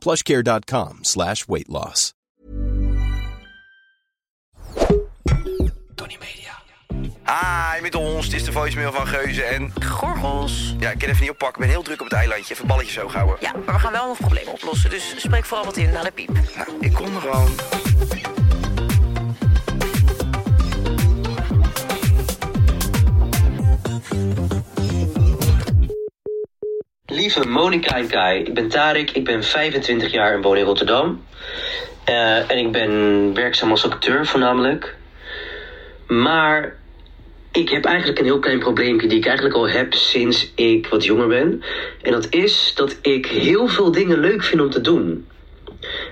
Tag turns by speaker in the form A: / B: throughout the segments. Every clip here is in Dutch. A: plushcare.com slash weight loss.
B: Tony Media.
C: Hi, met ons. Dit is de voicemail van Geuze en...
D: Gorgels.
C: Ja, ik kan even niet oppakken. Ik ben heel druk op het eilandje. Even balletjes zo houden.
D: Ja, maar we gaan wel nog problemen oplossen. Dus spreek vooral wat in naar de piep.
C: Nou, ik kom er gewoon.
E: Lieve Monika en Kai, ik ben Tarek, ik ben 25 jaar en woon in Rotterdam. Eh, en ik ben werkzaam als acteur voornamelijk. Maar ik heb eigenlijk een heel klein probleempje die ik eigenlijk al heb sinds ik wat jonger ben. En dat is dat ik heel veel dingen leuk vind om te doen.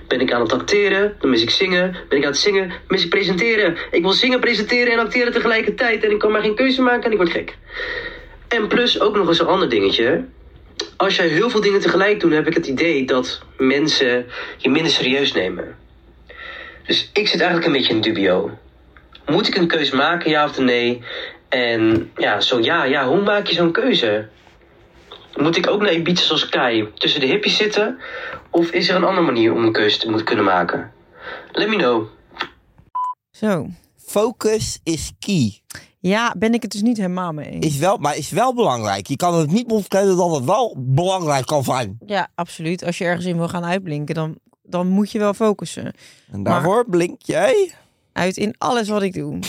E: Ben ik aan het acteren, dan mis ik zingen. Ben ik aan het zingen, mis ik presenteren. Ik wil zingen, presenteren en acteren tegelijkertijd. En ik kan maar geen keuze maken en ik word gek. En plus ook nog eens een ander dingetje als jij heel veel dingen tegelijk doet, heb ik het idee dat mensen je minder serieus nemen. Dus ik zit eigenlijk een beetje in dubio. Moet ik een keuze maken, ja of nee? En ja, zo ja, ja, hoe maak je zo'n keuze? Moet ik ook naar Ibiza zoals Kai tussen de hippies zitten? Of is er een andere manier om een keuze te moeten kunnen maken? Let me know.
F: Zo.
B: Focus is key.
F: Ja, ben ik het dus niet helemaal mee eens.
B: Is wel, maar is wel belangrijk. Je kan het niet ontkennen dat het wel belangrijk kan zijn.
F: Ja, absoluut. Als je ergens in wil gaan uitblinken, dan, dan moet je wel focussen.
B: En daarvoor blink jij.
F: Uit in alles wat ik doe.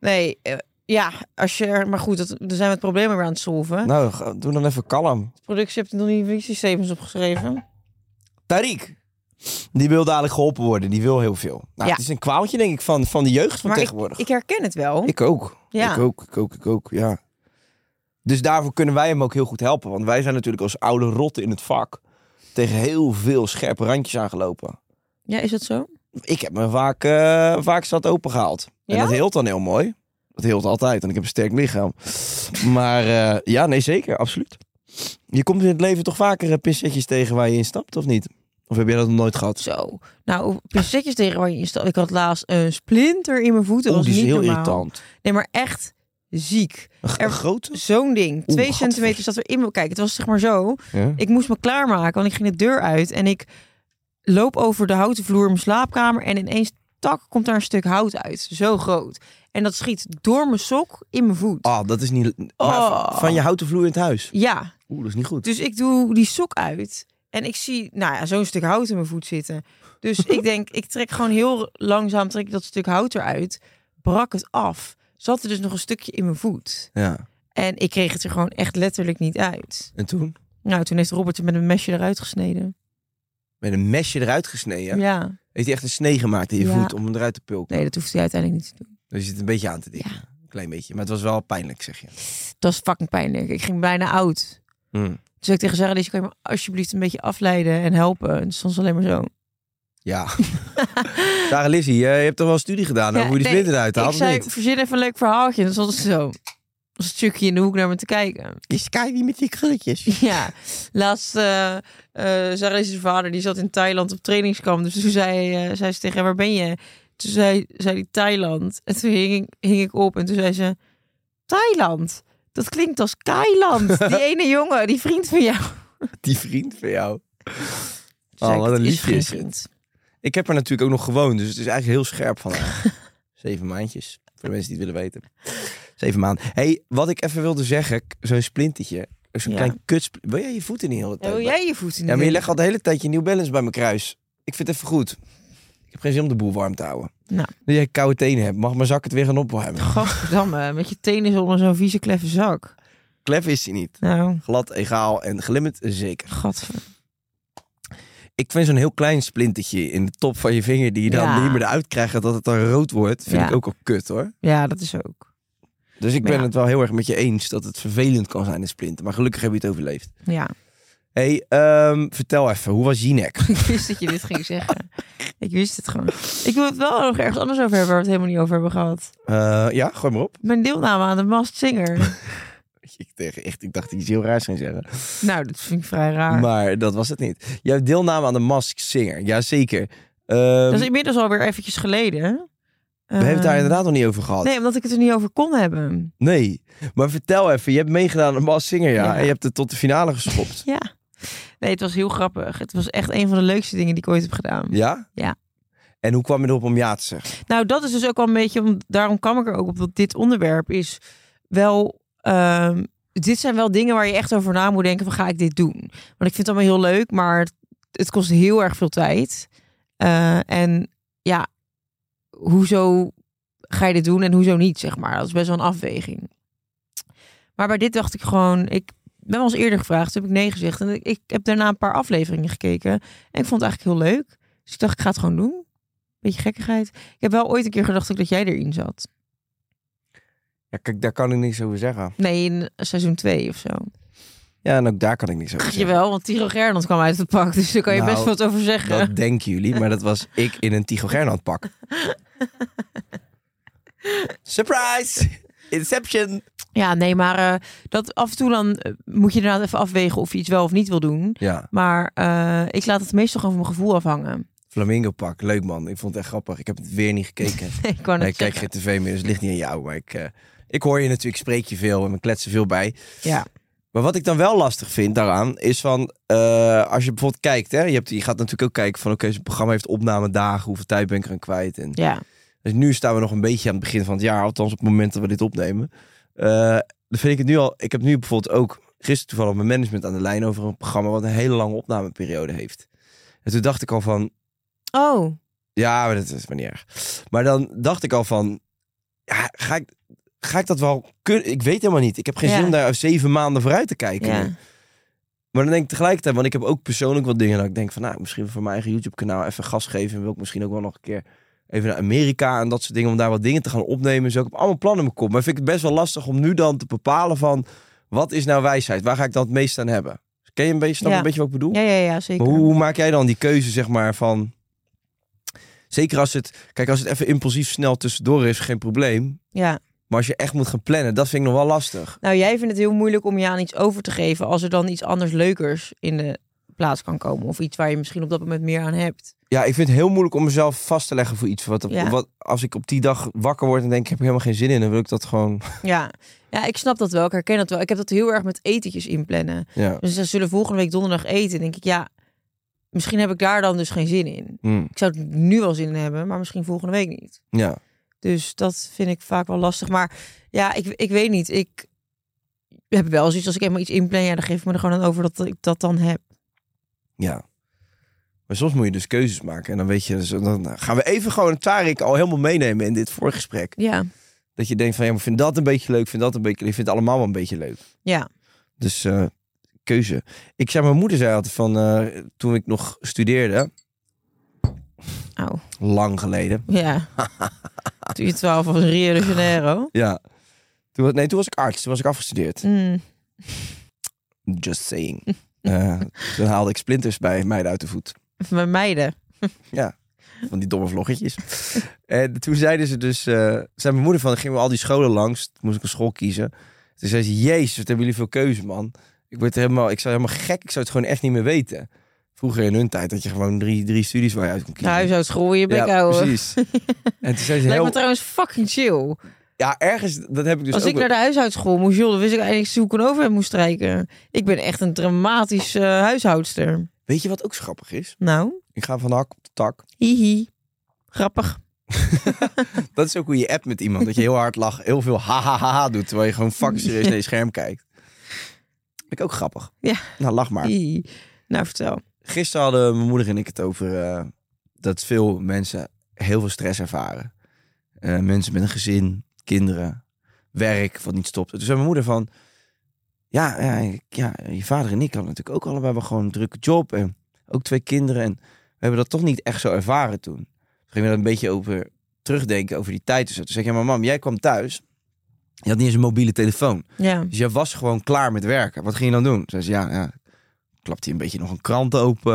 F: Nee, eh, ja, als je er... Maar goed, dat, daar zijn we het probleem weer aan het solven.
B: Nou, ga- doe dan even kalm.
F: De productie heeft er nog niet visiestevens opgeschreven.
B: Tariq. Die wil dadelijk geholpen worden. Die wil heel veel. Nou,
F: Ja.
B: Het is een kwaaltje, denk ik, van, van de jeugd van
F: Maar ik,
B: tegenwoordig.
F: ik herken het wel.
B: Ik ook.
F: Ja.
B: Ik ook, ik ook, ik ook, ja. Dus daarvoor kunnen wij hem ook heel goed helpen. Want wij zijn natuurlijk als oude rotten in het vak tegen heel veel scherpe randjes aangelopen.
F: Ja, is dat zo?
B: Ik heb me vaak, eh vaak zat opengehaald. En
F: Ja?
B: dat heelt dan heel mooi. Dat heelt altijd. En ik heb een sterk lichaam. Maar eh, ja, nee, zeker. Absoluut. Je komt in het leven toch vaker eh, pissetjes tegen waar je in stapt, of niet? Of heb jij dat nog nooit gehad?
F: Zo. Nou, pincetjes tegen waar je in staat. Ik had laatst een splinter in mijn voet. Dat
B: Oh,
F: was
B: die is
F: niet
B: heel
F: normaal.
B: irritant.
F: Nee, maar echt ziek.
B: Een,
F: Er- Dus-
B: een grote?
F: Zo'n ding. Twee
B: gadver.
F: centimeter zat erin. me- Kijk, het was zeg maar zo.
B: Ja.
F: Ik moest me klaarmaken, want ik ging de deur uit. En ik loop over de houten vloer in mijn slaapkamer. En ineens, tak, komt daar een stuk hout uit. Zo groot. En dat schiet door mijn sok in mijn voet.
B: Ah, dat is niet... maar
F: Oh.
B: van je houten vloer in het huis.
F: Ja,
B: Oeh, dat is niet goed.
F: dus ik doe die sok uit. En ik zie, nou ja, zo'n stuk hout in mijn voet zitten. Dus ik denk, ik trek gewoon heel langzaam trek ik dat stuk hout eruit. Brak het af. Zat er dus nog een stukje in mijn voet.
B: Ja.
F: En ik kreeg het er gewoon echt letterlijk niet uit.
B: En toen?
F: Nou, toen heeft Robert er met een mesje eruit gesneden.
B: Met een mesje eruit gesneden.
F: ja.
B: Heeft hij echt een snee gemaakt in je
F: Ja.
B: voet om hem eruit te pulken.
F: Nee, dat hoeft hij uiteindelijk niet te doen.
B: Dus je zit een beetje aan te denken. Een klein beetje. Maar het was wel pijnlijk, zeg je.
F: Dat is fucking pijnlijk. Ik ging bijna oud.
B: Hmm.
F: Dus ik tegen Sarah, deze kan je me alsjeblieft een beetje afleiden en helpen. En het stond ze alleen
B: Ah,
F: maar zo.
B: Ja. Sarah Lizzie, eh, je hebt toch wel een studie gedaan over hoe je dus die
F: nee,
B: splinter eruit haalt,
F: Ik
B: of
F: zei,
B: niet?
F: verzin even een leuk verhaaltje. En dan stond ze zo. Als een stukje in de hoek naar me te kijken.
B: Is Sky niet met die krulletjes?
F: Ja, laatst eh eh Sarah is zijn vader, die zat in Thailand op trainingskamp. Dus toen zei, eh, zei ze tegen hem, waar ben je? Toen zei, zei hij Thailand. En toen hing, ik- hing ik op en toen zei ze, Thailand? Dat klinkt als Kailand. Die ene jongen, die vriend van jou.
B: Die vriend van jou.
F: Toen
B: Oh,
F: zei ik,
B: wat een
F: "Het is
B: liefje
F: geen
B: is het."
F: vriend.
B: Ik heb er natuurlijk ook nog gewoond, dus het is eigenlijk heel scherp van haar. Zeven maandjes, voor de mensen die het willen weten. Zeven maanden. hey, wat ik even wilde zeggen, k- zo'n splintertje. Zo'n
F: Ja. Oh,
B: klein kuts... Wil jij je voeten niet heel de hele tijd
F: wil
B: bij-
F: jij je voet in de
B: Ja, maar je
F: wind?
B: legt al de hele tijd je New Balance bij mijn kruis. Ik vind het even goed. Ik heb geen zin om de boel warm te houden.
F: Nou.
B: Dat jij koude tenen hebt, mag mijn zak het weer gaan opwarmen.
F: Gadverdamme, met je tenen onder zo'n vieze kleffe zak.
B: Klef is hij niet.
F: Nou,
B: Glad, egaal en glimmend zeker.
F: gadver.
B: Ik vind zo'n heel klein splintertje in de top van je vinger die je dan
F: Ja.
B: niet meer eruit krijgt dat het dan rood wordt, vind
F: Ja.
B: ik ook al kut hoor.
F: Ja, dat is ook.
B: Dus ik
F: Maar
B: ben
F: ja.
B: het wel heel erg met je eens dat het vervelend kan zijn, een splinter. Maar gelukkig heb je het overleefd.
F: Ja,
B: hey, ehm, vertel even, hoe was Jinek?
F: ik wist dat je dit ging zeggen. Ik wist het gewoon. Ik wil het wel nog ergens anders over hebben waar we het helemaal niet over hebben gehad.
B: Eh, ja, gooi maar op.
F: Mijn deelname aan de Masked Singer.
B: Ik, tegen, echt, ik dacht iets heel raars ging zeggen.
F: Nou, dat vind ik vrij raar.
B: Maar dat was het niet. Jouw deelname aan de Mask Singer, jazeker. Ehm,
F: dat is inmiddels alweer eventjes geleden. hè?
B: we hebben het daar inderdaad nog niet over gehad.
F: Nee, omdat ik het er niet over kon hebben.
B: Nee, maar vertel even. Je hebt meegedaan aan Mask Singer, ja,
F: Ja.
B: En je hebt het tot de finale geschopt.
F: Ja. Nee, het was heel grappig. Het was echt een van de leukste dingen die ik ooit heb gedaan.
B: ja?
F: Ja.
B: En hoe kwam je erop om ja te zeggen?
F: Nou, dat is dus ook wel een beetje, om, daarom kwam ik er ook op, dat dit onderwerp is wel, ehm, dit zijn wel dingen waar je echt over na moet denken van ga ik dit doen? Want ik vind het allemaal heel leuk, maar het, het kost heel erg veel tijd. Eh, en ja, hoezo ga je dit doen en hoezo niet, zeg maar. Dat is best wel een afweging. Maar bij dit dacht ik gewoon, ik ben wel eens eerder gevraagd, toen heb ik nee gezegd. En ik, ik heb daarna een paar afleveringen gekeken en ik vond het eigenlijk heel leuk. Dus ik dacht, ik ga het gewoon doen. Beetje gekkigheid. Ik heb wel ooit een keer gedacht ook dat jij erin zat.
B: Ja, kijk, daar kan ik niks over zeggen.
F: Nee, in seizoen 2 of zo.
B: Ja, en ook daar kan ik niks over zeggen.
F: Jawel, want Tiro Gernand kwam uit het pak. Dus daar kan je
B: Nou,
F: best wat over zeggen.
B: Dat denken jullie, maar dat was ik in een Tycho Gernand pak. Surprise! Inception!
F: Ja, nee, maar eh, dat af en toe dan eh, moet je inderdaad even afwegen of je iets wel of niet wil doen.
B: Ja,
F: Maar eh, ik laat het meestal gewoon van mijn gevoel afhangen.
B: flamingo pak. Leuk man. Ik vond het echt grappig. Ik heb het weer niet gekeken.
F: Nee, ik wou
B: Nee,
F: net
B: ik kijk
F: zeggen.
B: geen tv meer, dus het ligt niet aan jou. Maar ik, eh, ik hoor je natuurlijk, ik spreek je veel en we kletsen veel bij.
F: Ja.
B: Maar wat ik dan wel lastig vind daaraan, is van... eh, als je bijvoorbeeld kijkt, hè, je, hebt, je gaat natuurlijk ook kijken van... oké, zo'n programma heeft opnamedagen, hoeveel tijd ben ik eraan kwijt. En,
F: ja.
B: Dus nu staan we nog een beetje aan het begin van het jaar. Althans, op het moment dat we dit opnemen. Eh, dan vind ik het nu al... Ik heb nu bijvoorbeeld ook gisteren toevallig mijn management aan de lijn... over een programma wat een hele lange opnameperiode heeft. En toen dacht ik al van...
F: Oh,
B: Ja, maar dat is maar niet erg. Maar dan dacht ik al van, ja, ga ik, ga ik dat wel kunnen? Ik weet helemaal niet. Ik heb geen
F: Ja.
B: zin om daar zeven maanden vooruit te kijken.
F: ja.
B: nu. Maar dan denk ik tegelijkertijd, want ik heb ook persoonlijk wat dingen dat ik denk van, nou, misschien voor mijn eigen YouTube kanaal even gas geven. En wil ik misschien ook wel nog een keer even naar Amerika en dat soort dingen, om daar wat dingen te gaan opnemen. Zo, ik heb allemaal plannen in mijn kop. Maar vind ik het best wel lastig om nu dan te bepalen van, wat is nou wijsheid? Waar ga ik dan het meest aan hebben? Ken je een beetje, snap je
F: Ja.
B: een beetje wat ik bedoel?
F: ja, ja, ja, zeker.
B: Maar hoe, hoe maak jij dan die keuze, zeg maar, van... Zeker als het... Kijk, als het even impulsief snel tussendoor is, geen probleem.
F: Ja.
B: Maar als je echt moet gaan plannen, dat vind ik nog wel lastig.
F: Nou, jij vindt het heel moeilijk om je aan iets over te geven als er dan iets anders leukers in de plaats kan komen. Of iets waar je misschien op dat moment meer aan hebt.
B: Ja, ik vind het heel moeilijk om mezelf vast te leggen voor iets. Wat,
F: Ja.
B: wat, als ik op die dag wakker word en denk, ik heb er helemaal geen zin in. Dan wil ik dat gewoon...
F: Ja. ja, ik snap dat wel. Ik herken dat wel. Ik heb dat heel erg met etentjes inplannen.
B: Ja.
F: Dus ze zullen volgende week donderdag eten. denk ik, ja, misschien heb ik daar dan dus geen zin in.
B: Hm,
F: Ik zou het nu wel zin in hebben, maar misschien volgende week niet.
B: ja.
F: Dus dat vind ik vaak wel lastig. Maar ja, ik, ik weet niet. Ik heb wel zoiets als ik helemaal iets inplan. Ja, dan geef ik me er gewoon aan over dat ik dat dan heb.
B: Ja. Maar soms moet je dus keuzes maken. En dan weet je... dus Dan gaan we even gewoon Tarek al helemaal meenemen in dit voorgesprek.
F: Ja,
B: Dat je denkt van, ja, maar ik vind dat een beetje leuk. Vind dat een beetje... Ik vind het allemaal wel een beetje leuk.
F: ja,
B: Dus eh, keuze. Ik zei, mijn moeder zei altijd van eh, toen ik nog studeerde,
F: au.
B: lang geleden.
F: Ja. Toen je 12 was in Rio de Janeiro.
B: Ja. Toen, was- nee, toen was ik arts. Toen was ik afgestudeerd.
F: Mm,
B: Just saying. Eh, toen haalde ik splinters bij meiden uit de voet.
F: met meiden.
B: Van die domme vloggetjes. en toen zeiden ze dus, eh, zei mijn moeder van, gingen we al die scholen langs. Toen moest ik een school kiezen. Toen zei ze, jezus, wat hebben jullie veel keuze, man. Ik werd helemaal, ik zou helemaal gek. Ik zou het gewoon echt niet meer weten. Vroeger in hun tijd dat je gewoon drie, drie studies waar je uit kon
F: De
B: kiezen.
F: huishoudschool, je bek houden.
B: precies. En toen zei ze
F: Lijkt me
B: heel...
F: trouwens fucking chill.
B: Ja, ergens, dat heb ik dus
F: Als
B: ook
F: ik naar de huishoudschool moest, joh, dan wist ik eigenlijk hoe ik een overhemd moest strijken. Ik ben echt een dramatische eh, huishoudster.
B: Weet je wat ook zo grappig is?
F: Nou,
B: Ik ga van de hak op de tak.
F: hihi. Grappig.
B: Dat is ook hoe je appt met iemand. Dat je heel hard lacht, heel veel ha ha ha ha doet. Terwijl je gewoon fucking serieus naar je scherm kijkt. Vind ik ook grappig.
F: Ja.
B: Nou, lach maar.
F: Hihi. Nou, vertel.
B: Gisteren hadden mijn moeder en ik het over eh, dat veel mensen heel veel stress ervaren. Eh, mensen met een gezin, kinderen, werk wat niet stopt. Toen zei mijn moeder van, ja, ja, ik- ja, je vader en ik hadden natuurlijk ook allebei wel gewoon een drukke job en ook twee kinderen. En we hebben dat toch niet echt zo ervaren toen. Toen gingen we daar een beetje over terugdenken, over die tijd. en zo. Toen zei ik, ja, maar mam, jij kwam thuis. Je had niet eens een mobiele telefoon.
F: Ja.
B: Dus jij was gewoon klaar met werken. Wat ging je dan doen? Zei ze, ja, ja. Klapte hij een beetje nog een krant open.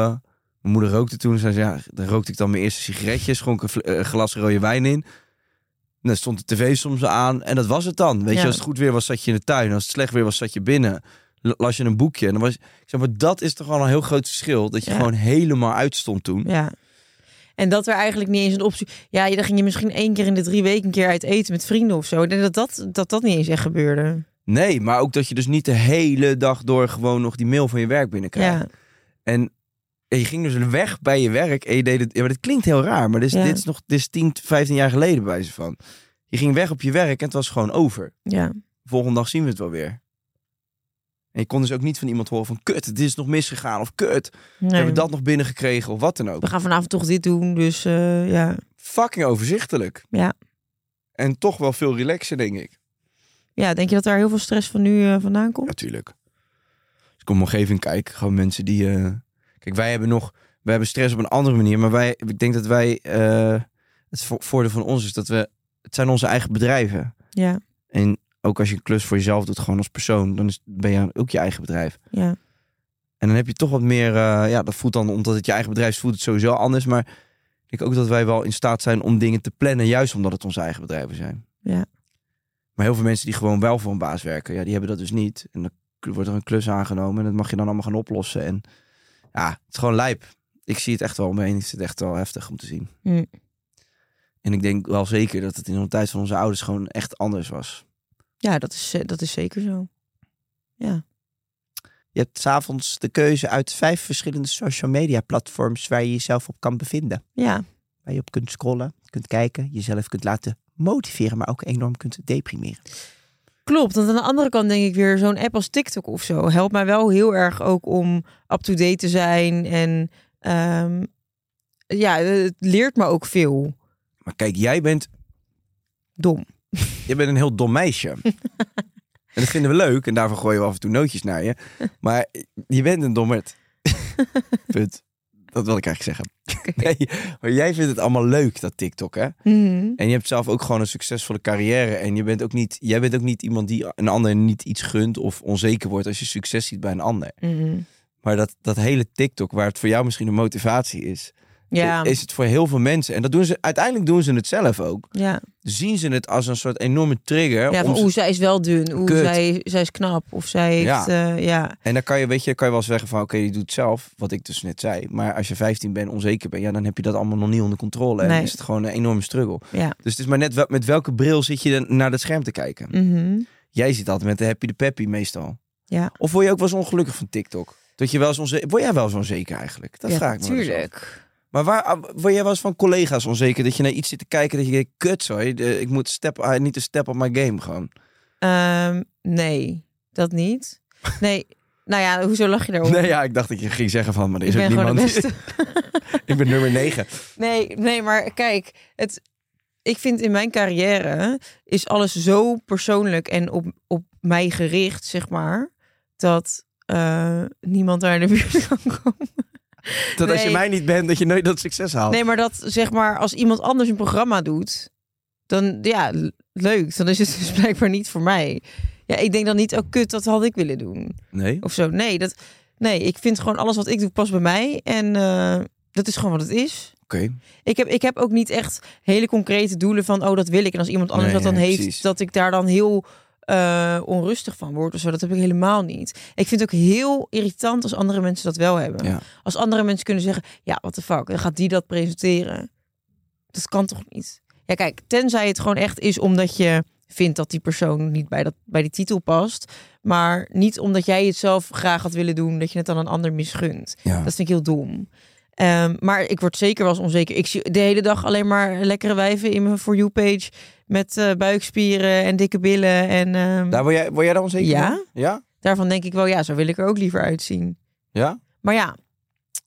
B: Mijn moeder rookte toen. Zei ze, ja, dan rookte ik dan mijn eerste sigaretje. Schonk een, fl- eh, een glas rode wijn in. En dan stond de tv soms aan. En dat was het dan. Weet
F: Ja.
B: je, als het goed weer was, zat je in de tuin. Als het slecht weer was, zat je binnen. L- las je een boekje. En dan was, ik zeg maar, dat is toch wel een heel groot verschil. Dat je
F: Ja.
B: gewoon helemaal uitstond toen.
F: Ja. En dat er eigenlijk niet eens een optie... Ja, je- dan ging je misschien één keer in de drie weken een keer uit eten met vrienden of zo. Ik denk dat dat, dat, dat niet eens echt gebeurde.
B: Nee, maar ook dat je dus niet de hele dag door gewoon nog die mail van je werk binnenkrijgt.
F: Ja.
B: En en je ging dus weg bij je werk en je deed het. Ja, maar dit klinkt heel raar, maar dit is,
F: Ja.
B: dit is nog dit is 10, 15 jaar geleden bij ze van. Je ging weg op je werk en het was gewoon over.
F: ja.
B: Volgende dag zien we het wel weer. En je kon dus ook niet van iemand horen van kut, het is nog misgegaan of kut,
F: Nee.
B: we hebben dat nog binnengekregen of wat dan ook.
F: We gaan vanavond toch dit doen, dus eh, ja.
B: Fucking overzichtelijk.
F: Ja.
B: En toch wel veel relaxer, denk ik.
F: Ja, denk je dat daar heel veel stress van nu eh, vandaan komt?
B: Natuurlijk. Dus ik om mijn omgeving kijk, gewoon mensen die. eh, Kijk, wij hebben nog. We hebben stress op een andere manier. Maar wij, ik denk dat wij. eh, het vo- voordeel van ons is dat we. Het zijn onze eigen bedrijven.
F: Ja,
B: En ook als je een klus voor jezelf doet, gewoon als persoon. Dan is, ben je ook je eigen bedrijf.
F: ja,
B: En dan heb je toch wat meer. eh, ja, dat voelt dan. Omdat het je eigen bedrijf is, voelt het sowieso anders. Maar ik denk ook dat wij wel in staat zijn om dingen te plannen. Juist omdat het onze eigen bedrijven zijn.
F: Ja.
B: Maar heel veel mensen die gewoon wel voor een baas werken. Ja, die hebben dat dus niet. En dan k- wordt er een klus aangenomen. En dat mag je dan allemaal gaan oplossen. En ja, het is gewoon lijp. Ik zie het echt wel omheen. Ik vind het echt wel heftig om te zien.
F: Mm.
B: En ik denk wel zeker dat het in de tijd van onze ouders gewoon echt anders was.
F: ja dat, is, eh, dat is zeker zo.
B: Je hebt s'avonds de keuze uit vijf verschillende social media platforms waar je jezelf op kan bevinden.
F: Ja,
B: waar je op kunt scrollen, kunt kijken, jezelf kunt laten motiveren, maar ook enorm kunt deprimeren.
F: klopt. Want aan de andere kant denk ik weer zo'n app als TikTok of zo helpt mij wel heel erg ook om up-to-date te zijn. En ehm, ja, het leert me ook veel.
B: Maar kijk, jij bent,
F: Dom.
B: jij bent een heel dom meisje. en dat vinden we leuk en daarvoor gooien we af en toe nootjes naar je. Maar je bent een dommerd. Punt. Dat wil ik eigenlijk zeggen. Nee, maar jij vindt het allemaal leuk, dat TikTok, hè?
F: Mhm.
B: En je hebt zelf ook gewoon een succesvolle carrière. En je bent ook niet, jij bent ook niet iemand die een ander niet iets gunt of onzeker wordt als je succes ziet bij een ander.
F: Mhm.
B: Maar dat, dat hele TikTok, waar het voor jou misschien een motivatie is,
F: Ja,
B: is het voor heel veel mensen. En dat doen ze, uiteindelijk doen ze het zelf ook.
F: ja.
B: Zien ze het als een soort enorme trigger.
F: ja
B: om
F: van
B: ze-
F: oeh, zij is wel dun. Oeh,
B: Kut.
F: zij, zij is knap. Of zij heeft,
B: Ja.
F: eh, ja.
B: en dan kan je, weet je, kan je wel zeggen van oké, je doet het zelf, wat ik dus net zei. Maar als je 15 bent, onzeker bent, ja, dan heb je dat allemaal nog niet onder controle. En
F: Nee.
B: dan is het gewoon een enorme struggle.
F: Ja.
B: Dus het is maar net wel, met welke bril zit je dan naar dat scherm te kijken.
F: Mhm.
B: Jij zit altijd met de happy de peppy meestal.
F: Ja.
B: Of word je ook wel eens ongelukkig van TikTok? Dat je wel eens onzeker, word jij wel eens onzeker eigenlijk? Dat
F: ja,
B: vraag ik me wel eens af.
F: tuurlijk.
B: Maar waar, ah, word jij wel eens van collega's onzeker dat je naar iets zit te kijken dat je denkt, kut zo, ik moet step, I need to step op my game gewoon.
F: Ehm, nee, dat niet. Nee, nou ja, hoezo lach je daarop?
B: Nee, ja, ik dacht dat je ging zeggen van, maar er
F: ik
B: is ook
F: ben gewoon de
B: niemand.
F: beste.
B: ik ben nummer 9.
F: Nee, nee, maar kijk, het, ik vind in mijn carrière is alles zo persoonlijk en op, op mij gericht, zeg maar, dat eh, niemand daar in de buurt kan komen.
B: Dat als je
F: Nee.
B: mij niet bent, dat je nooit dat succes haalt.
F: Nee, maar dat zeg maar, als iemand anders een programma doet, dan ja, l- leuk. Dan is het dus blijkbaar niet voor mij. Ja, ik denk dan niet, oh kut, dat had ik willen doen.
B: Nee?
F: of zo. Nee, dat, nee, ik vind gewoon alles wat ik doe past bij mij. En eh, dat is gewoon wat het is.
B: Oké.
F: Ik heb, ik heb ook niet echt hele concrete doelen van, oh, dat wil ik. En als iemand anders
B: Nee,
F: dat dan
B: ja,
F: heeft,
B: precies.
F: dat ik daar dan heel eh, onrustig van word of zo. Dat heb ik helemaal niet. Ik vind het ook heel irritant als andere mensen dat wel hebben.
B: Ja.
F: Als andere mensen kunnen zeggen, ja, what the fuck, dan gaat die dat presenteren. Dat kan toch niet? Ja, kijk, tenzij het gewoon echt is omdat je vindt dat die persoon niet bij, dat, bij die titel past. Maar niet omdat jij het zelf graag had willen doen, dat je het dan een ander misgunt.
B: Ja.
F: Dat vind ik heel dom. Ehm, maar ik word zeker wel eens onzeker. Ik zie de hele dag alleen maar lekkere wijven in mijn For You-page. Met eh, buikspieren en dikke billen. En ehm,
B: Daar word jij, word jij dan onzeker
F: Ja.
B: van? Ja?
F: daarvan denk ik wel, ja, zo wil ik er ook liever uitzien.
B: Ja?
F: Maar ja,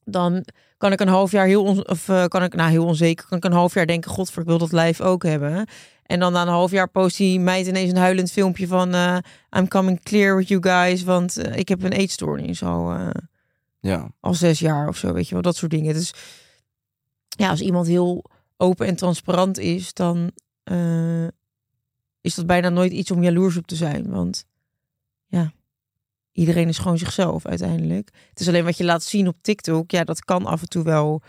F: dan kan ik een half jaar heel, on, of, eh, kan ik, nou, heel onzeker, kan ik een half jaar denken, godver, ik wil dat lijf ook hebben. En dan na een half jaar post die meid ineens een huilend filmpje van eh, I'm coming clear with you guys, want eh, ik heb een eetstoornis al, eh,
B: Ja.
F: al zes jaar of zo, weet je wel, dat soort dingen. Dus ja, als iemand heel open en transparant is, dan eh, is dat bijna nooit iets om jaloers op te zijn. Want ja, iedereen is gewoon zichzelf uiteindelijk. Het is alleen wat je laat zien op TikTok, ja, dat kan af en toe wel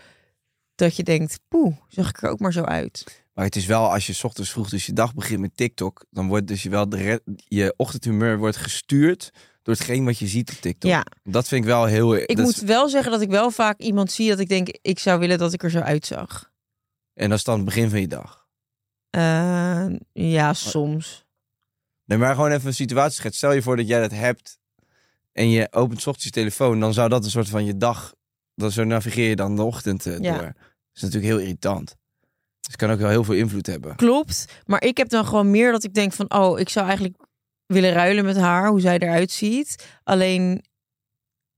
F: dat je denkt, poeh, zag ik er ook maar zo uit.
B: Maar het is wel, als je 's ochtends vroeg dus je dag begint met TikTok, dan wordt dus je wel de re- je ochtendhumeur wordt gestuurd door hetgeen wat je ziet op TikTok.
F: Ja,
B: Dat vind ik wel heel...
F: ik
B: dat
F: moet
B: is-
F: wel zeggen dat ik wel vaak iemand zie dat ik denk, ik zou willen dat ik er zo uitzag.
B: en dat is dan het begin van je dag.
F: Eh,
B: Oh.
F: ja, soms.
B: Nee, maar gewoon even een situatie schetsen. Stel je voor dat jij dat hebt en je opent 's ochtends je telefoon, dan zou dat een soort van je dag... Dan zo navigeer je dan de ochtend
F: Ja.
B: eh, door. Dat is natuurlijk heel irritant. Dus het kan ook wel heel veel invloed hebben.
F: Klopt, maar ik heb dan gewoon meer dat ik denk van, oh, ik zou eigenlijk willen ruilen met haar, hoe zij eruit ziet. Alleen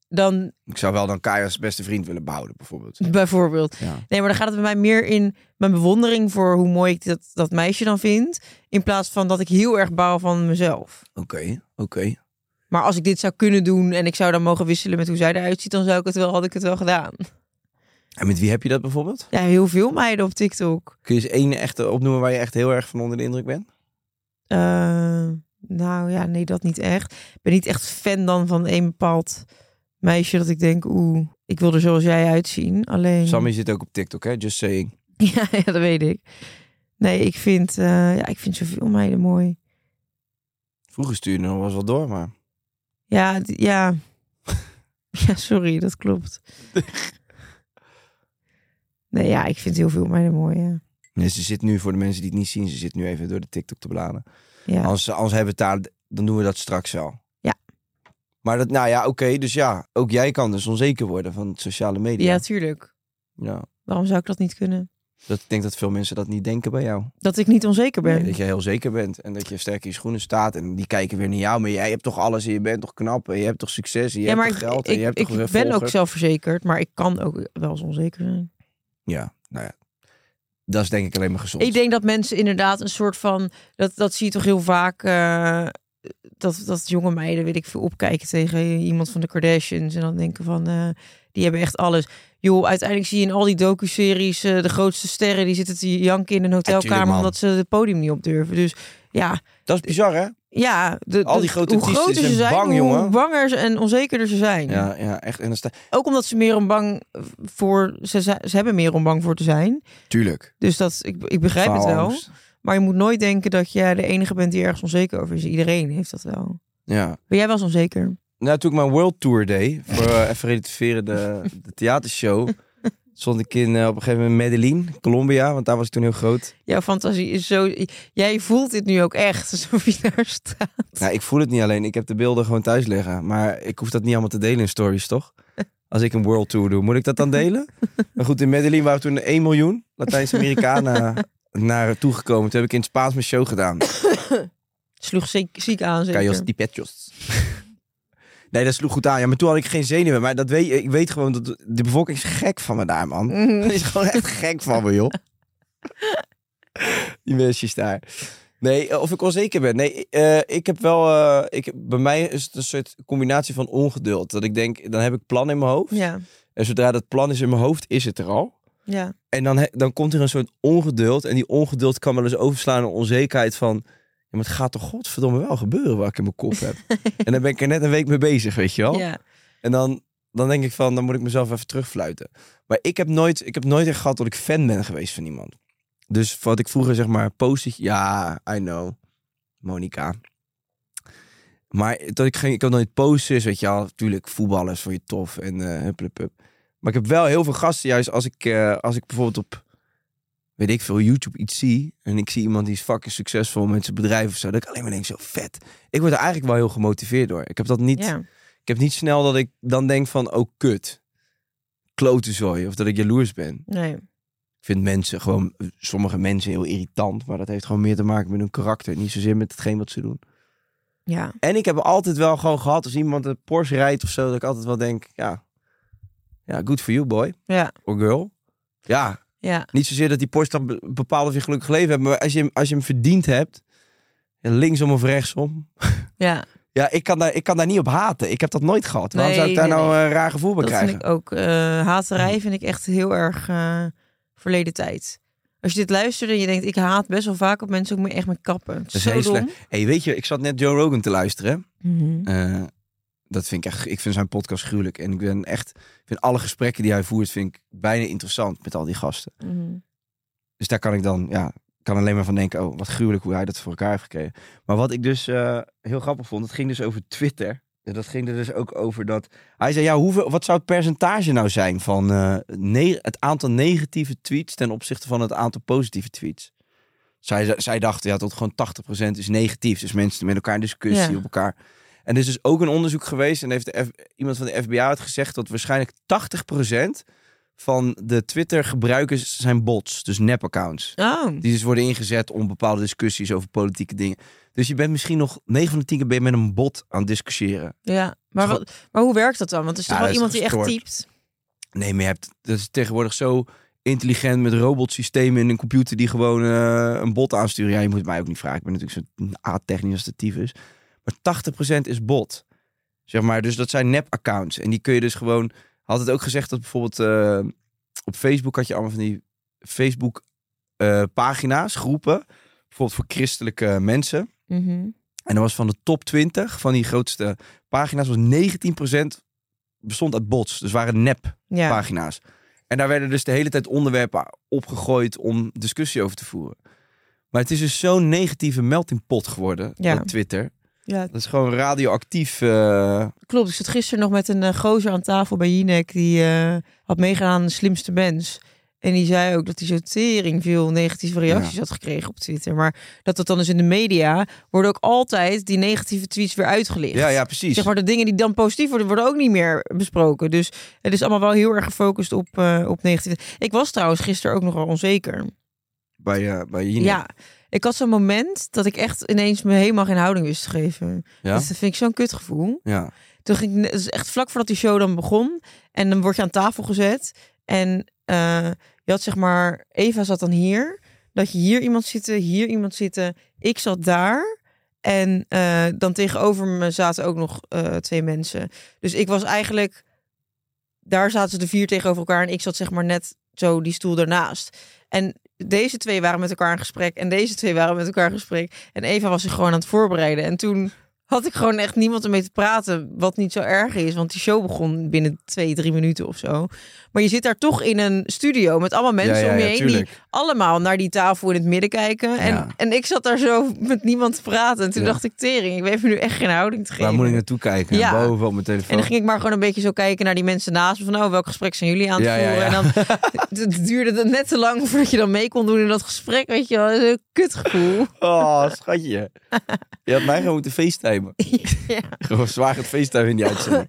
F: dan
B: Ik zou wel dan Kai als beste vriend willen behouden, bijvoorbeeld.
F: bijvoorbeeld.
B: Ja.
F: Nee, maar dan gaat het bij mij meer in mijn bewondering voor hoe mooi ik dat, dat meisje dan vind. In plaats van dat ik heel erg bouw van mezelf.
B: Oké, oké.
F: Maar als ik dit zou kunnen doen en ik zou dan mogen wisselen met hoe zij eruit ziet, dan zou ik het wel, had ik het wel gedaan.
B: En met wie heb je dat bijvoorbeeld?
F: Ja, heel veel meiden op TikTok.
B: Kun je eens één echte opnoemen waar je echt heel erg van onder de indruk bent?
F: Eh, nou ja, nee, dat niet echt. Ik ben niet echt fan dan van een bepaald meisje dat ik denk, oeh, ik wil er zoals jij uitzien. Alleen.
B: Sammy zit ook op TikTok, hè? Just saying.
F: Ja, ja, dat weet ik. Nee, ik vind, eh, ja, ik vind zoveel meiden mooi.
B: Vroeger stuurde nog was wel door, maar...
F: Ja, d- ja. ja, sorry, dat klopt. Nee, ja, ik vind heel veel meiden mooi. Ja.
B: Nee, ze zit nu, voor de mensen die het niet zien, ze zit nu even door de TikTok te bladeren.
F: Ja.
B: Als, als hebben we het daar, dan doen we dat straks wel.
F: Ja.
B: Maar dat, nou ja, oké, dus ja, ook jij kan dus onzeker worden van sociale media.
F: ja, tuurlijk.
B: Ja.
F: Waarom zou ik dat niet kunnen?
B: Dat, ik denk dat veel mensen dat niet denken bij jou.
F: Dat ik niet onzeker ben.
B: Nee, dat je heel zeker bent en dat je sterk in je schoenen staat. En die kijken weer naar jou, maar jij hebt toch alles en je bent toch knap en je hebt toch succes en je
F: ja,
B: hebt
F: maar
B: toch
F: ik,
B: geld en
F: ik,
B: je hebt
F: ik
B: toch weer
F: ben ook
B: volgers.
F: zelfverzekerd, maar ik kan ook wel eens onzeker zijn.
B: Ja, nou ja. Dat is denk ik alleen maar gezond.
F: Ik denk dat mensen inderdaad een soort van. Dat, dat zie je toch heel vaak. eh, dat, dat jonge meiden, weet ik veel, opkijken tegen iemand van de Kardashians. En dan denken van. eh, die hebben echt alles. Joh, uiteindelijk zie je in al die docuseries. eh, de grootste sterren die zitten te janken in een hotelkamer.
B: man.
F: omdat ze het podium niet op durven. Dus ja.
B: dat is bizar, hè?
F: ja de,
B: Al die
F: de-
B: grote
F: hoe
B: artiesten
F: groter ze
B: zijn
F: zijn,
B: bang,
F: hoe
B: jongen.
F: banger ze en onzekerder ze zijn.
B: Ja, ja echt. En dan sta...
F: Ook omdat ze meer om bang voor. Ze, ze ze hebben meer om bang voor te zijn.
B: Tuurlijk.
F: Dus dat, ik, ik begrijp het wel.
B: Faalangst.
F: Maar je moet nooit denken dat jij de enige bent die ergens onzeker over is. Iedereen heeft dat wel.
B: Ja.
F: Ben jij wel eens onzeker?
B: Nou, toen ik mijn World Tour deed, voor eh, even relativeren de, de theatershow, stond ik in, eh, op een gegeven moment in Medellin, Colombia, want daar was ik toen heel groot.
F: Jouw fantasie is zo... Jij voelt dit nu ook echt, alsof je daar staat.
B: Nou, ik voel het niet alleen, ik heb de beelden gewoon thuis liggen, maar ik hoef dat niet allemaal te delen in stories, toch? Als ik een World Tour doe, moet ik dat dan delen? Maar goed, in Medellin waren toen 1 miljoen Latijns-Amerikanen naar toegekomen. Toen heb ik in het Spaans mijn show gedaan.
F: Sloeg ziek, ziek aan, zeker.
B: Callos tipetjos. Nee, dat sloeg goed aan. Ja, maar toen had ik geen zenuwen. Maar dat weet, ik weet gewoon dat de bevolking is gek van me daar, man.
F: Mhm.
B: Die is gewoon echt gek van me, joh. Die mensjes daar. Nee, eh, of ik onzeker ben. Nee, eh, ik heb wel... eh, ik, heb- bij mij is het een soort combinatie van ongeduld. Dat ik denk, dan heb ik plan in mijn hoofd.
F: Ja,
B: En zodra dat plan is in mijn hoofd, is het er al.
F: ja.
B: En dan, he- dan komt er een soort ongeduld. En die ongeduld kan wel eens overslaan naar onzekerheid van... Ja, maar het gaat toch godverdomme wel gebeuren wat ik in mijn kop heb. en dan ben ik er net een week mee bezig, weet je wel.
F: ja.
B: En dan, dan denk ik van, dan moet ik mezelf even terugfluiten. Maar ik heb nooit, ik heb nooit echt gehad dat ik fan ben geweest van iemand. Dus wat ik vroeger zeg maar postig, ja, I know, Monica. Maar dat ik geen, ik heb nooit posters, weet je wel. Natuurlijk, voetballers vond je tof en eh hup, hup, hup. Maar ik heb wel heel veel gasten, juist als ik, eh, als ik bijvoorbeeld op, weet ik veel, YouTube iets zie. En ik zie iemand die is fucking succesvol met zijn bedrijf of zo. Dat ik alleen maar denk, zo vet. Ik word er eigenlijk wel heel gemotiveerd door. Ik heb dat niet...
F: ja.
B: Ik heb niet snel dat ik dan denk van, oh kut, klotenzooi, of dat ik jaloers ben.
F: Nee.
B: Ik vind mensen gewoon, sommige mensen heel irritant, maar dat heeft gewoon meer te maken met hun karakter, niet zozeer met hetgeen wat ze doen.
F: Ja.
B: En ik heb altijd wel gewoon gehad, als iemand een Porsche rijdt of zo, dat ik altijd wel denk, ja, ja Ja, good for you, boy
F: Ja,
B: or girl. Ja,
F: ja.
B: niet zozeer dat die Porsche dan be- bepaalt of je gelukkig leven hebt. Maar als je hem, als je hem verdiend hebt, ja, linksom of rechtsom.
F: ja.
B: Ja, ik kan, daar, ik kan daar niet op haten. Ik heb dat nooit gehad. Waarom zou ik
F: Nee,
B: daar
F: nee,
B: nou een raar gevoel bij
F: Dat
B: krijgen? Mhm.
F: vind ik ook. eh, haterij vind ik echt heel erg eh, verleden tijd. Als je dit luistert en je denkt, ik haat best wel vaak op mensen, ik moet echt met kappen. Het is
B: Dat is
F: zo
B: heel
F: dom.
B: slecht. hey, weet je, ik zat net Joe Rogan te luisteren.
F: Mhm.
B: Eh, dat vind ik echt, ik vind zijn podcast gruwelijk. En ik ben echt, ik vind alle gesprekken die hij voert, vind ik bijna interessant met al die gasten.
F: Mhm.
B: Dus daar kan ik dan, ja, kan alleen maar van denken, oh, wat gruwelijk hoe hij dat voor elkaar heeft gekregen. Maar wat ik dus eh, heel grappig vond, het ging dus over Twitter. En dat ging er dus ook over dat, hij zei, ja, hoeveel, wat zou het percentage nou zijn van eh, ne- het aantal negatieve tweets ten opzichte van het aantal positieve tweets? Zij, zij dachten, ja, tot gewoon 80% is negatief. Dus mensen met elkaar in discussie
F: Ja.
B: op elkaar. En er is dus ook een onderzoek geweest en heeft de F- iemand van de FBI het gezegd dat waarschijnlijk 80% van de Twitter-gebruikers zijn bots, dus nep-accounts.
F: Oh,
B: Die dus worden ingezet om bepaalde discussies over politieke dingen. Dus je bent misschien nog 9 van de 10 keer ben je met een bot aan het discussiëren.
F: ja. Maar,
B: Gewoon-
F: wat, maar hoe werkt dat dan? Want er is
B: Ja,
F: toch wel
B: dat is
F: iemand die echt
B: gestoord.
F: typt?
B: Nee, maar je hebt, dat is tegenwoordig zo intelligent met robotsystemen in een computer die gewoon eh, een bot aansturen. Ja, je moet het mij ook niet vragen. Ik ben natuurlijk zo'n A-technisch als de tyfus. Maar 80% is bot. Zeg maar, dus dat zijn nep-accounts. En die kun je dus gewoon... Had het ook gezegd dat bijvoorbeeld eh, op Facebook had je allemaal van die Facebook-pagina's, groepen. Bijvoorbeeld voor christelijke mensen.
F: Mhm.
B: En dat was van de top 20 van die grootste pagina's, was 19% bestond uit bots. Dus waren nep
F: Ja.
B: pagina's. En daar werden dus de hele tijd onderwerpen opgegooid om discussie over te voeren. Maar het is dus zo'n negatieve meltingpot geworden,
F: Ja.
B: dat Twitter.
F: ja,
B: Dat is gewoon radioactief. eh,
F: Klopt, ik zat gisteren nog met een eh, gozer aan tafel bij Jinek. Die eh, had meegedaan aan de slimste mens. En die zei ook dat hij zo tering veel negatieve reacties had gekregen op Twitter. Maar dat dat dan dus in de media worden ook altijd die negatieve tweets weer uitgelicht.
B: ja, ja, precies.
F: Zeg maar de dingen die dan positief worden, worden ook niet meer besproken. Dus het is allemaal wel heel erg gefocust op, eh op negatieve. Ik was trouwens gisteren ook nogal onzeker.
B: Bij, eh, bij Jinek.
F: Ja, ik had zo'n moment dat ik echt ineens me helemaal geen houding wist te geven.
B: Ja?
F: Dus dat vind ik zo'n kutgevoel.
B: ja.
F: Toen ging ik, ne- het is echt vlak voordat die show dan begon. En dan word je aan tafel gezet. En eh, je had zeg maar, Eva zat dan hier. Dat je hier iemand zitten, hier iemand zitten. Ik zat daar. En eh, dan tegenover me zaten ook nog eh, twee mensen. Dus ik was eigenlijk, daar zaten ze de vier tegenover elkaar. En ik zat zeg maar net zo die stoel daarnaast. En deze twee waren met elkaar in gesprek. En deze twee waren met elkaar in gesprek. En Eva was zich gewoon aan het voorbereiden. En toen had ik gewoon echt niemand ermee te praten. Wat niet zo erg is, want die show begon binnen twee, drie minuten of zo. Maar je zit daar toch in een studio met allemaal mensen
B: ja,
F: om je
B: ja,
F: heen.
B: tuurlijk.
F: Die allemaal naar die tafel in het midden kijken. En,
B: Ja.
F: en ik zat daar zo met niemand te praten. En toen
B: Ja.
F: dacht ik, tering, ik weet me nu echt geen houding te geven.
B: Waar moet ik naartoe kijken?
F: Ja.
B: Boven op mijn telefoon.
F: En dan ging ik maar gewoon een beetje zo kijken naar die mensen naast me. Van, oh, welk gesprek zijn jullie aan het
B: Ja, ja,
F: voeren?
B: ja.
F: En dan het duurde het net te lang voordat je dan mee kon doen in dat gesprek. Weet je wel, Dat is een kutgevoel.
B: Oh, schatje. Je had mij gewoon moeten facetimen.
F: Ja.
B: Gewoon zwaar het facetimen in die uitzending.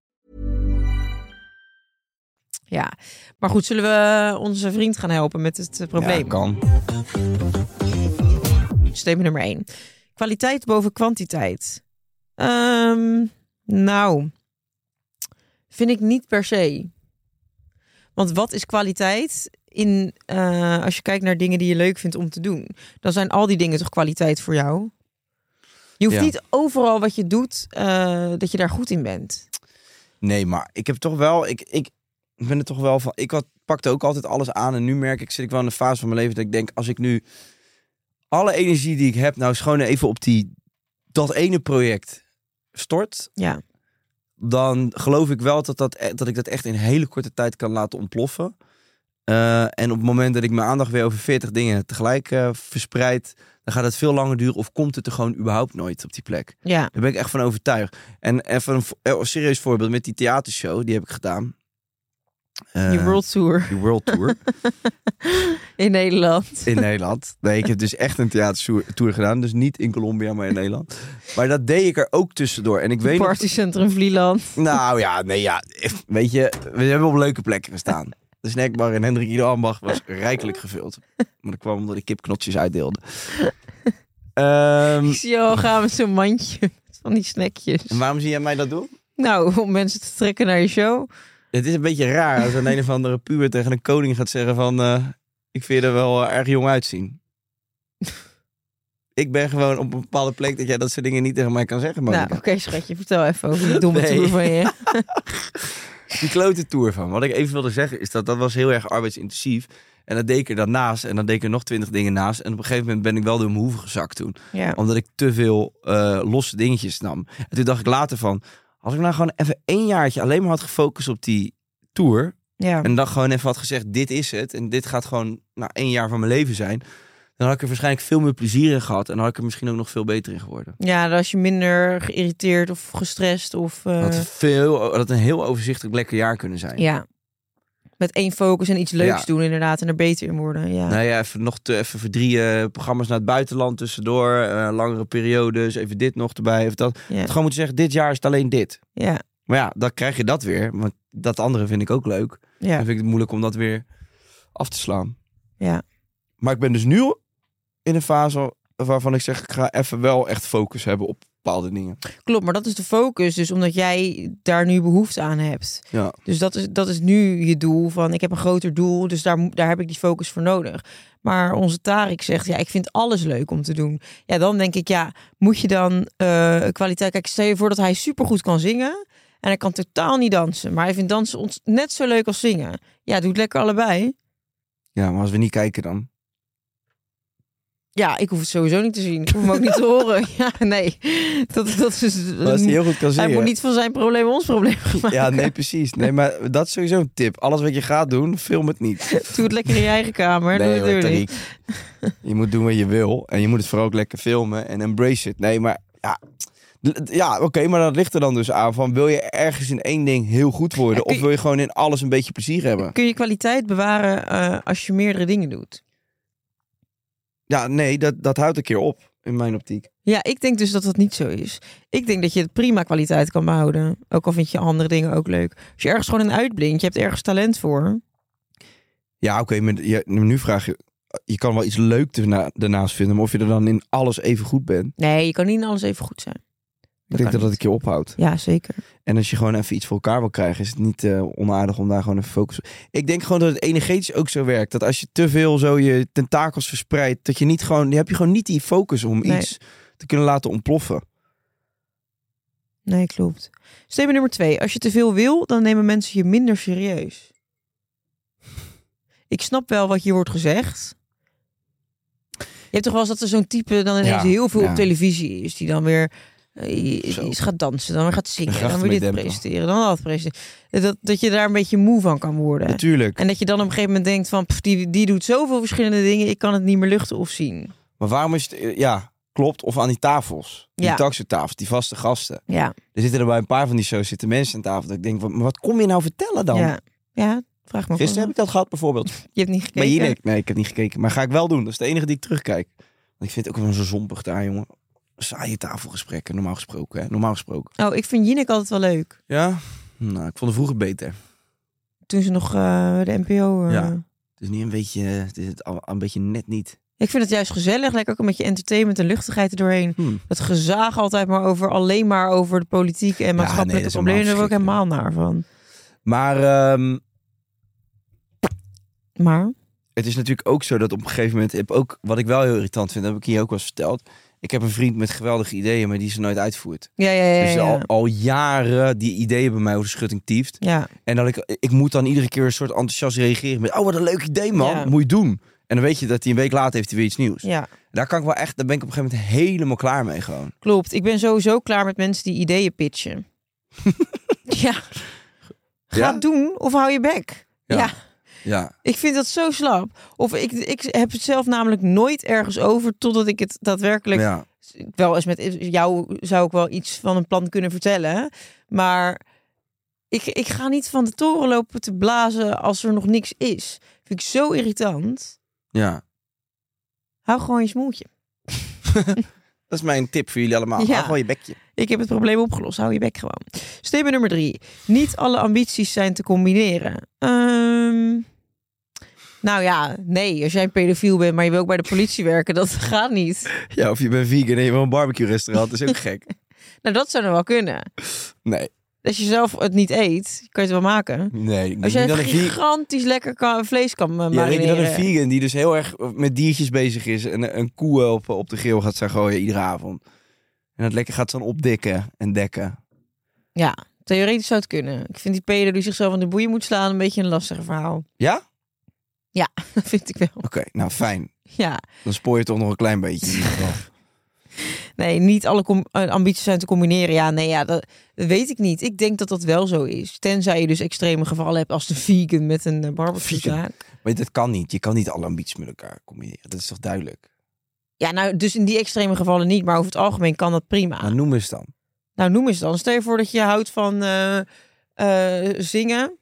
F: ja. Maar goed, zullen we onze vriend gaan helpen met het eh, probleem?
B: Ja, kan.
F: Statement nummer 1. Kwaliteit boven kwantiteit. Ehm, nou, vind ik niet per se. Want wat is kwaliteit in, eh, als je kijkt naar dingen die je leuk vindt om te doen? Dan zijn al die dingen toch kwaliteit voor jou? Je hoeft
B: Ja.
F: niet overal wat je doet, eh, dat je daar goed in bent.
B: Nee, maar ik heb toch wel. Ik, ik ben er toch wel van. Ik had, pakte ook altijd alles aan. En nu merk ik, zit ik wel in de fase van mijn leven dat ik denk, als ik nu alle energie die ik heb, nou schoon even op die dat ene project stort.
F: Ja.
B: Dan geloof ik wel dat, dat, e- dat ik dat echt in hele korte tijd kan laten ontploffen. Eh, en op het moment dat ik mijn aandacht weer over 40 dingen tegelijk eh, verspreid, dan gaat het veel langer duren of komt het er gewoon überhaupt nooit op die plek.
F: Ja.
B: Daar ben ik echt van overtuigd. En even een, vo- eh, een serieus voorbeeld met die theatershow, die heb ik gedaan.
F: Die
B: Eh,
F: World Tour
B: die World Tour
F: in Nederland.
B: in Nederland. Nee, ik heb dus echt een theatertour gedaan. Dus niet in Colombia, maar in Nederland. Maar dat deed ik er ook tussendoor. En ik weet nog-
F: Partycentrum Vlieland.
B: Nou ja, nee ja. Weet je, we hebben op leuke plekken gestaan. De snackbar in Hendrik Ieder Ambach was rijkelijk gevuld. Maar dat kwam omdat ik kipknotjes uitdeelde. Ehm,
F: Ik zie jou al gaan met zo'n mandje van die snackjes.
B: en waarom zie jij mij dat doen?
F: Nou, om mensen te trekken naar je show.
B: Het is een beetje raar als een een of andere puber tegen een koning gaat zeggen van... eh, ik vind je er wel eh, erg jong uitzien. ik ben gewoon op een bepaalde plek dat jij dat soort dingen niet tegen mij kan zeggen,
F: nou,
B: Monica.
F: oké schatje, vertel even over die domme
B: Nee.
F: tour van je.
B: die klote tour van. Wat ik even wilde zeggen is dat dat was heel erg arbeidsintensief. En dat deed ik er daarnaast. En dan deed ik er nog twintig dingen naast. En op een gegeven moment ben ik wel door mijn hoeven gezakt toen.
F: Ja.
B: Omdat ik te veel eh, losse dingetjes nam. En toen dacht ik later van... Als ik nou gewoon even één jaartje alleen maar had gefocust op die tour...
F: ja.
B: En dan gewoon even had gezegd, dit is het. En dit gaat gewoon nou, één jaar van mijn leven zijn. Dan had ik er waarschijnlijk veel meer plezier in gehad. En dan had ik er misschien ook nog veel beter in geworden.
F: Ja, dan was je minder geïrriteerd of gestrest of... eh,
B: Dat had, veel, dat had een heel overzichtelijk lekker jaar kunnen zijn.
F: ja. Met één focus en iets leuks
B: Ja.
F: doen inderdaad en er beter in worden. Ja.
B: Nou ja, even, nog te, even voor drie eh, programma's naar het buitenland tussendoor. eh, langere periodes, even dit nog erbij, even dat.
F: Ja.
B: Het gewoon moeten zeggen, dit jaar is het alleen dit.
F: ja.
B: Maar ja, dan krijg je dat weer. Want dat andere vind ik ook leuk.
F: Ja.
B: En vind ik het moeilijk om dat weer af te slaan.
F: Ja.
B: Maar ik ben dus nu in een fase waarvan ik zeg, ik ga even wel echt focus hebben op bepaalde dingen.
F: Klopt, maar dat is de focus. Dus omdat jij daar nu behoefte aan hebt.
B: Ja.
F: Dus dat is, dat is nu je doel van ik heb een groter doel, dus daar, moet- daar heb ik die focus voor nodig. Maar onze Tarik zegt, ja, ik vind alles leuk om te doen. Ja, dan denk ik, ja, moet je dan eh, kwaliteit... Kijk, stel je voor dat hij supergoed kan zingen en hij kan totaal niet dansen. Maar hij vindt dansen ons net zo leuk als zingen. Ja, doe het lekker allebei.
B: Ja, maar als we niet kijken dan.
F: Ja, ik hoef het sowieso niet te zien. Ik hoef hem ook niet te horen. Ja, nee. Dat, dat is, eh,
B: Maar als die heel goed kan
F: hij
B: zingen.
F: moet niet van zijn probleem ons probleem maken.
B: Ja, nee, precies. Nee, maar dat is sowieso een tip. Alles wat je gaat doen, film het niet.
F: Doe het lekker in je eigen kamer. Doe
B: nee,
F: het
B: hoor,
F: deur niet.
B: Tariq. Je moet doen wat je wil. En je moet het vooral ook lekker filmen en embrace it. Nee, maar ja. D- Ja, oké, maar dat ligt er dan dus aan van... wil je ergens in één ding heel goed worden...
F: Ja, kun
B: of
F: je-
B: wil je gewoon in alles een beetje plezier hebben?
F: Kun je kwaliteit bewaren eh, als je meerdere dingen doet?
B: Ja, nee, dat, dat houdt een keer op in mijn optiek.
F: Ja, ik denk dus dat dat niet zo is. Ik denk dat je het prima kwaliteit kan behouden. Ook al vind je andere dingen ook leuk. Als je ergens gewoon een uitblinkt, je hebt ergens talent voor.
B: Ja, oké, maar je- nu vraag je... Je kan wel iets leuk erna- daarnaast vinden... maar of je er dan in alles even goed bent...
F: Nee, je kan niet in alles even goed zijn.
B: ik denk
F: kan
B: dat dat een
F: niet.
B: keer ophoudt.
F: Ja, zeker.
B: En als je gewoon even iets voor elkaar wil krijgen, is het niet eh, onaardig om daar gewoon even focus op. Ik denk gewoon dat het energetisch ook zo werkt. Dat als je te veel zo je tentakels verspreidt, dat je niet gewoon, dan heb je gewoon niet die focus om
F: Nee.
B: iets te kunnen laten ontploffen.
F: Nee, klopt. Statement nummer twee. Als je te veel wil, dan nemen mensen je minder serieus. Ik snap wel wat hier wordt gezegd. Je hebt toch wel eens dat er zo'n type dan ineens
B: Ja,
F: heel veel
B: ja.
F: op televisie is. Die dan weer eh,
B: Zo.
F: iets gaat dansen, dan weer gaat zingen,
B: Graag
F: dan weer
B: mee
F: dit
B: dempen.
F: presenteren, dan dat presenteren. Dat, dat je daar een beetje moe van kan worden.
B: Natuurlijk.
F: En dat je dan op een gegeven moment denkt van, pff, die, die doet zoveel verschillende dingen, ik kan het niet meer luchten of zien.
B: Maar waarom is het, eh, ja, klopt. Of aan die tafels. Die
F: Ja.
B: taxitafels, die vaste gasten.
F: Ja,
B: Er zitten er bij een paar van die shows zitten mensen aan tafel. Dat ik denk, wat, maar wat kom je nou vertellen dan?
F: ja. ja vraag me af.
B: Gisteren heb ik dat gehad bijvoorbeeld.
F: Je hebt niet
B: Maar
F: gekeken.
B: hier, nee, ik heb niet gekeken. Maar ga ik wel doen. Dat is de enige die ik terugkijk. Want ik vind het ook wel zo zompig daar, jongen. Saaie tafelgesprekken, normaal gesproken. Hè? Normaal gesproken.
F: Oh, ik vind Jinek altijd wel leuk.
B: Ja? Nou, ik vond het vroeger beter.
F: toen ze nog eh, de NPO. eh,
B: Ja. Het is nu een beetje, het is het al een beetje net niet.
F: Ik vind het juist gezellig, lekker ook een beetje entertainment en luchtigheid erdoorheen.
B: Hmm.
F: Dat gezaag altijd maar over, alleen maar over de politiek en maatschappelijke
B: nee, dat is
F: problemen. Daar word ik
B: helemaal
F: helemaal naar van.
B: Maar ehm,
F: Maar,
B: het is natuurlijk ook zo dat op een gegeven moment heb ook, wat ik wel heel irritant vind, dat heb ik hier ook wel eens verteld. Ik heb een vriend met geweldige ideeën, maar die ze nooit uitvoert.
F: ja, ja, ja.
B: Dus
F: ja.
B: al, al jaren die ideeën bij mij over de schutting tieft.
F: ja.
B: En dat ik, ik moet dan iedere keer een soort enthousiast reageren met... Oh, wat een leuk idee, man.
F: Ja.
B: Moet je doen. En dan weet je dat hij een week later heeft hij weer iets nieuws.
F: ja.
B: Daar kan ik wel echt... Daar ben ik op een gegeven moment helemaal klaar mee gewoon.
F: Klopt, ik ben sowieso klaar met mensen die ideeën pitchen. ja. Ga
B: Ja?
F: het doen of hou je bek.
B: Ja.
F: Ja.
B: Ja.
F: Ik vind dat zo slap. Of ik, ik heb het zelf namelijk nooit ergens over totdat ik het daadwerkelijk
B: ja.
F: wel eens met jou zou ik wel iets van een plan kunnen vertellen. Maar ik, ik ga niet van de toren lopen te blazen als er nog niks is. Vind ik zo irritant.
B: Ja.
F: Hou gewoon je smoeltje.
B: Dat is mijn tip voor jullie allemaal.
F: Ja.
B: Hou gewoon je bekje.
F: Ik heb het probleem opgelost. Hou je bek gewoon. Statement nummer drie. Niet alle ambities zijn te combineren. Ehm, nou ja, nee. Als jij een pedofiel bent, maar je wil ook bij de politie werken, dat gaat niet.
B: Ja, of je bent vegan en je wil een barbecue restaurant. Dat is ook gek.
F: Nou, dat zou dan wel kunnen.
B: Nee.
F: Als je zelf het niet eet, kan je het wel maken.
B: Nee. Ik
F: Als
B: denk
F: jij
B: niet dat een vegan...
F: gigantisch lekker kan, vlees kan eh,
B: Ja, denk je dat een
F: marineren.
B: vegan die dus heel erg met diertjes bezig is en eh, een koe op, op de grill gaat staan gooien iedere avond. En dat lekker gaat dan opdikken en dekken.
F: Ja, theoretisch zou het kunnen. Ik vind die pedo die zichzelf aan de boeien moet slaan een beetje een lastig verhaal.
B: Ja?
F: Ja, dat vind ik wel.
B: Oké, nou fijn.
F: Ja,
B: Dan spoor je toch nog een klein beetje in ieder geval.
F: nee, niet alle com- eh, ambities zijn te combineren. Ja, nee, ja, dat, dat weet ik niet. Ik denk dat dat wel zo is. Tenzij je dus extreme gevallen hebt als de vegan met een eh, barbecuezaak.
B: Maar dat kan niet. Je kan niet alle ambities met elkaar combineren. Dat is toch duidelijk?
F: Ja, nou, dus in die extreme gevallen niet. Maar over het algemeen kan dat prima.
B: Maar noem eens dan.
F: Nou, noem eens dan. Stel je voor dat je houdt van eh, eh, zingen.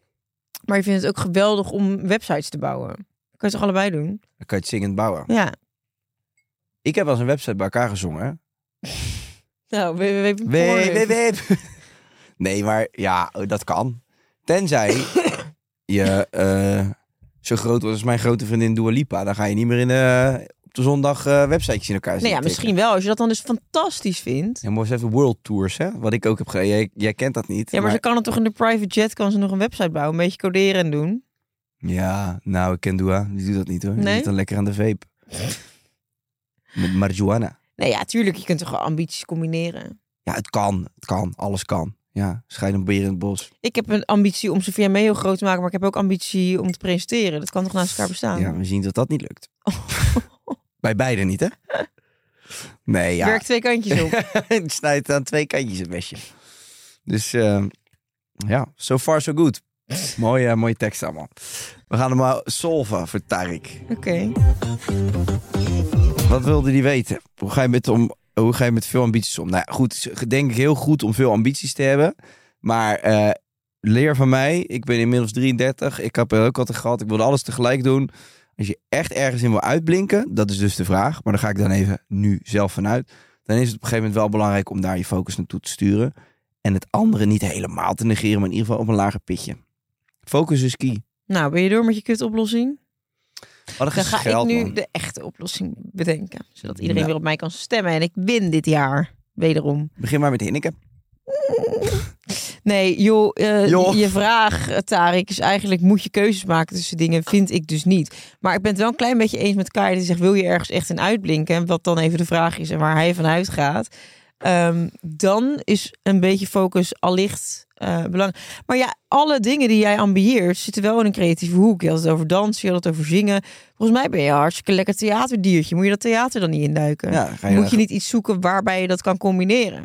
F: Maar je vindt het ook geweldig om websites te bouwen. Kan je toch allebei doen?
B: Dan kan je het zingend bouwen.
F: Ja.
B: Ik heb wel eens een website bij elkaar gezongen. hè?
F: Nou, we
B: Wee, wee, wee. Nee, maar ja, oh, dat kan. Tenzij je eh, zo groot was als mijn grote vriendin Dua Lipa. Dan ga je niet meer in, eh, op de zondag eh websitejes in elkaar
F: Nee,
B: zitten.
F: Nou ja, misschien wel. Als je dat dan dus fantastisch vindt.
B: Ja, maar eens even world tours, hè? Wat ik ook heb gedaan. Jij, jij kent dat niet.
F: Ja, maar ze kan het toch in de private jet, kan ze nog een website bouwen. Een beetje coderen en doen.
B: Ja, nou, ik ken Dua. Die doet dat niet, hoor. Die
F: Nee?
B: zit dan lekker aan de vape. Met marijuana.
F: Nee, Nou ja, tuurlijk. Je kunt toch wel ambities combineren.
B: Ja, het kan. Het kan. Alles kan. Ja, schijn een beer in het bos.
F: Ik heb een ambitie om Sofia Meo groot te maken. Maar ik heb ook ambitie om te presenteren. Dat kan toch naast elkaar bestaan?
B: Ja, we zien dat dat niet lukt. Bij beide niet, hè? Nee, ja.
F: Werk twee kantjes op.
B: het snijdt aan twee kantjes het mesje. Dus eh, ja, so far so good. mooie, mooie tekst allemaal. We gaan hem maar solven voor Tarik.
F: Oké.
B: Wat wilde die weten? Hoe ga je met, om, hoe ga je met veel ambities om? Nou ja, goed, het is denk ik heel goed om veel ambities te hebben. Maar eh, leer van mij, ik ben inmiddels 33. Ik heb er ook altijd gehad, ik wilde alles tegelijk doen. Als je echt ergens in wil uitblinken, dat is dus de vraag. Maar daar ga ik dan even nu zelf vanuit. Dan is het op een gegeven moment wel belangrijk om daar je focus naartoe te sturen. En het andere niet helemaal te negeren, maar in ieder geval op een lager pitje. Focus is key.
F: Nou, ben je door met je kutoplossing?
B: Wat een
F: Dan ga
B: geld,
F: ik nu
B: man.
F: de echte oplossing bedenken. Zodat iedereen
B: Nou.
F: weer op mij kan stemmen. En ik win dit jaar. Wederom.
B: Begin maar met Hinneke.
F: Nee, joh, eh,
B: Joh.
F: je vraag, eh, Tarik, is eigenlijk... moet je keuzes maken tussen dingen, vind ik dus niet. Maar ik ben het wel een klein beetje eens met Kai... die zegt, wil je ergens echt in uitblinken? En wat dan even de vraag is en waar hij van uitgaat... ehm, dan is een beetje focus allicht eh belangrijk. Maar ja, alle dingen die jij ambieert... zitten wel in een creatieve hoek. Je had het over dansen, je had het over zingen. Volgens mij ben je een hartstikke lekker theaterdiertje. Moet je dat theater dan niet induiken?
B: Ja, ga je
F: Moet je niet iets zoeken waarbij je dat kan combineren?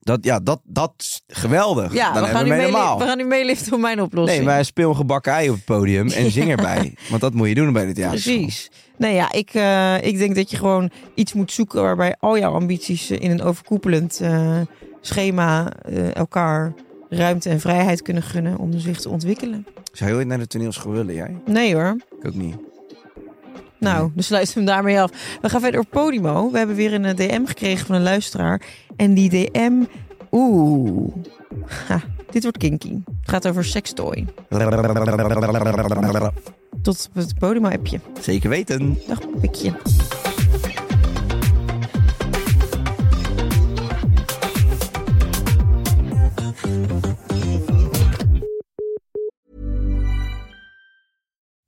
B: Dat, ja, dat, dat is geweldig.
F: Ja,
B: dan
F: we, gaan
B: hebben
F: nu
B: we hem
F: meeli-
B: helemaal.
F: we gaan nu meeliften op mijn oplossing.
B: Nee, maar speel een gebakken ei op het podium en zing erbij. Want dat moet je doen bij dit theater.
F: Precies. Nee, ja, ik, eh, ik denk dat je gewoon iets moet zoeken waarbij al jouw ambities eh, in een overkoepelend eh, schema eh, elkaar ruimte en vrijheid kunnen gunnen om zich te ontwikkelen.
B: Zou je ooit naar de toneelschool willen, jij?
F: Nee hoor.
B: Ik ook niet.
F: Nou, dan sluiten we hem daarmee af. We gaan verder op Podimo. We hebben weer een eh, DM gekregen van een luisteraar. En die DM, oeh, ha, dit wordt kinky. Het gaat over sekstooi. Tot op het Podimo-appje.
B: Zeker weten.
F: Dag, pikje.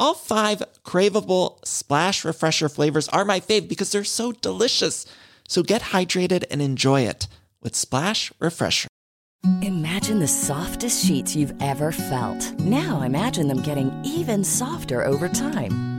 G: All five craveable splash refresher flavors are my fave because they're so delicious. So get hydrated and enjoy it with Splash Refresher.
H: Imagine the softest sheets you've ever felt. Now imagine them getting even softer over time.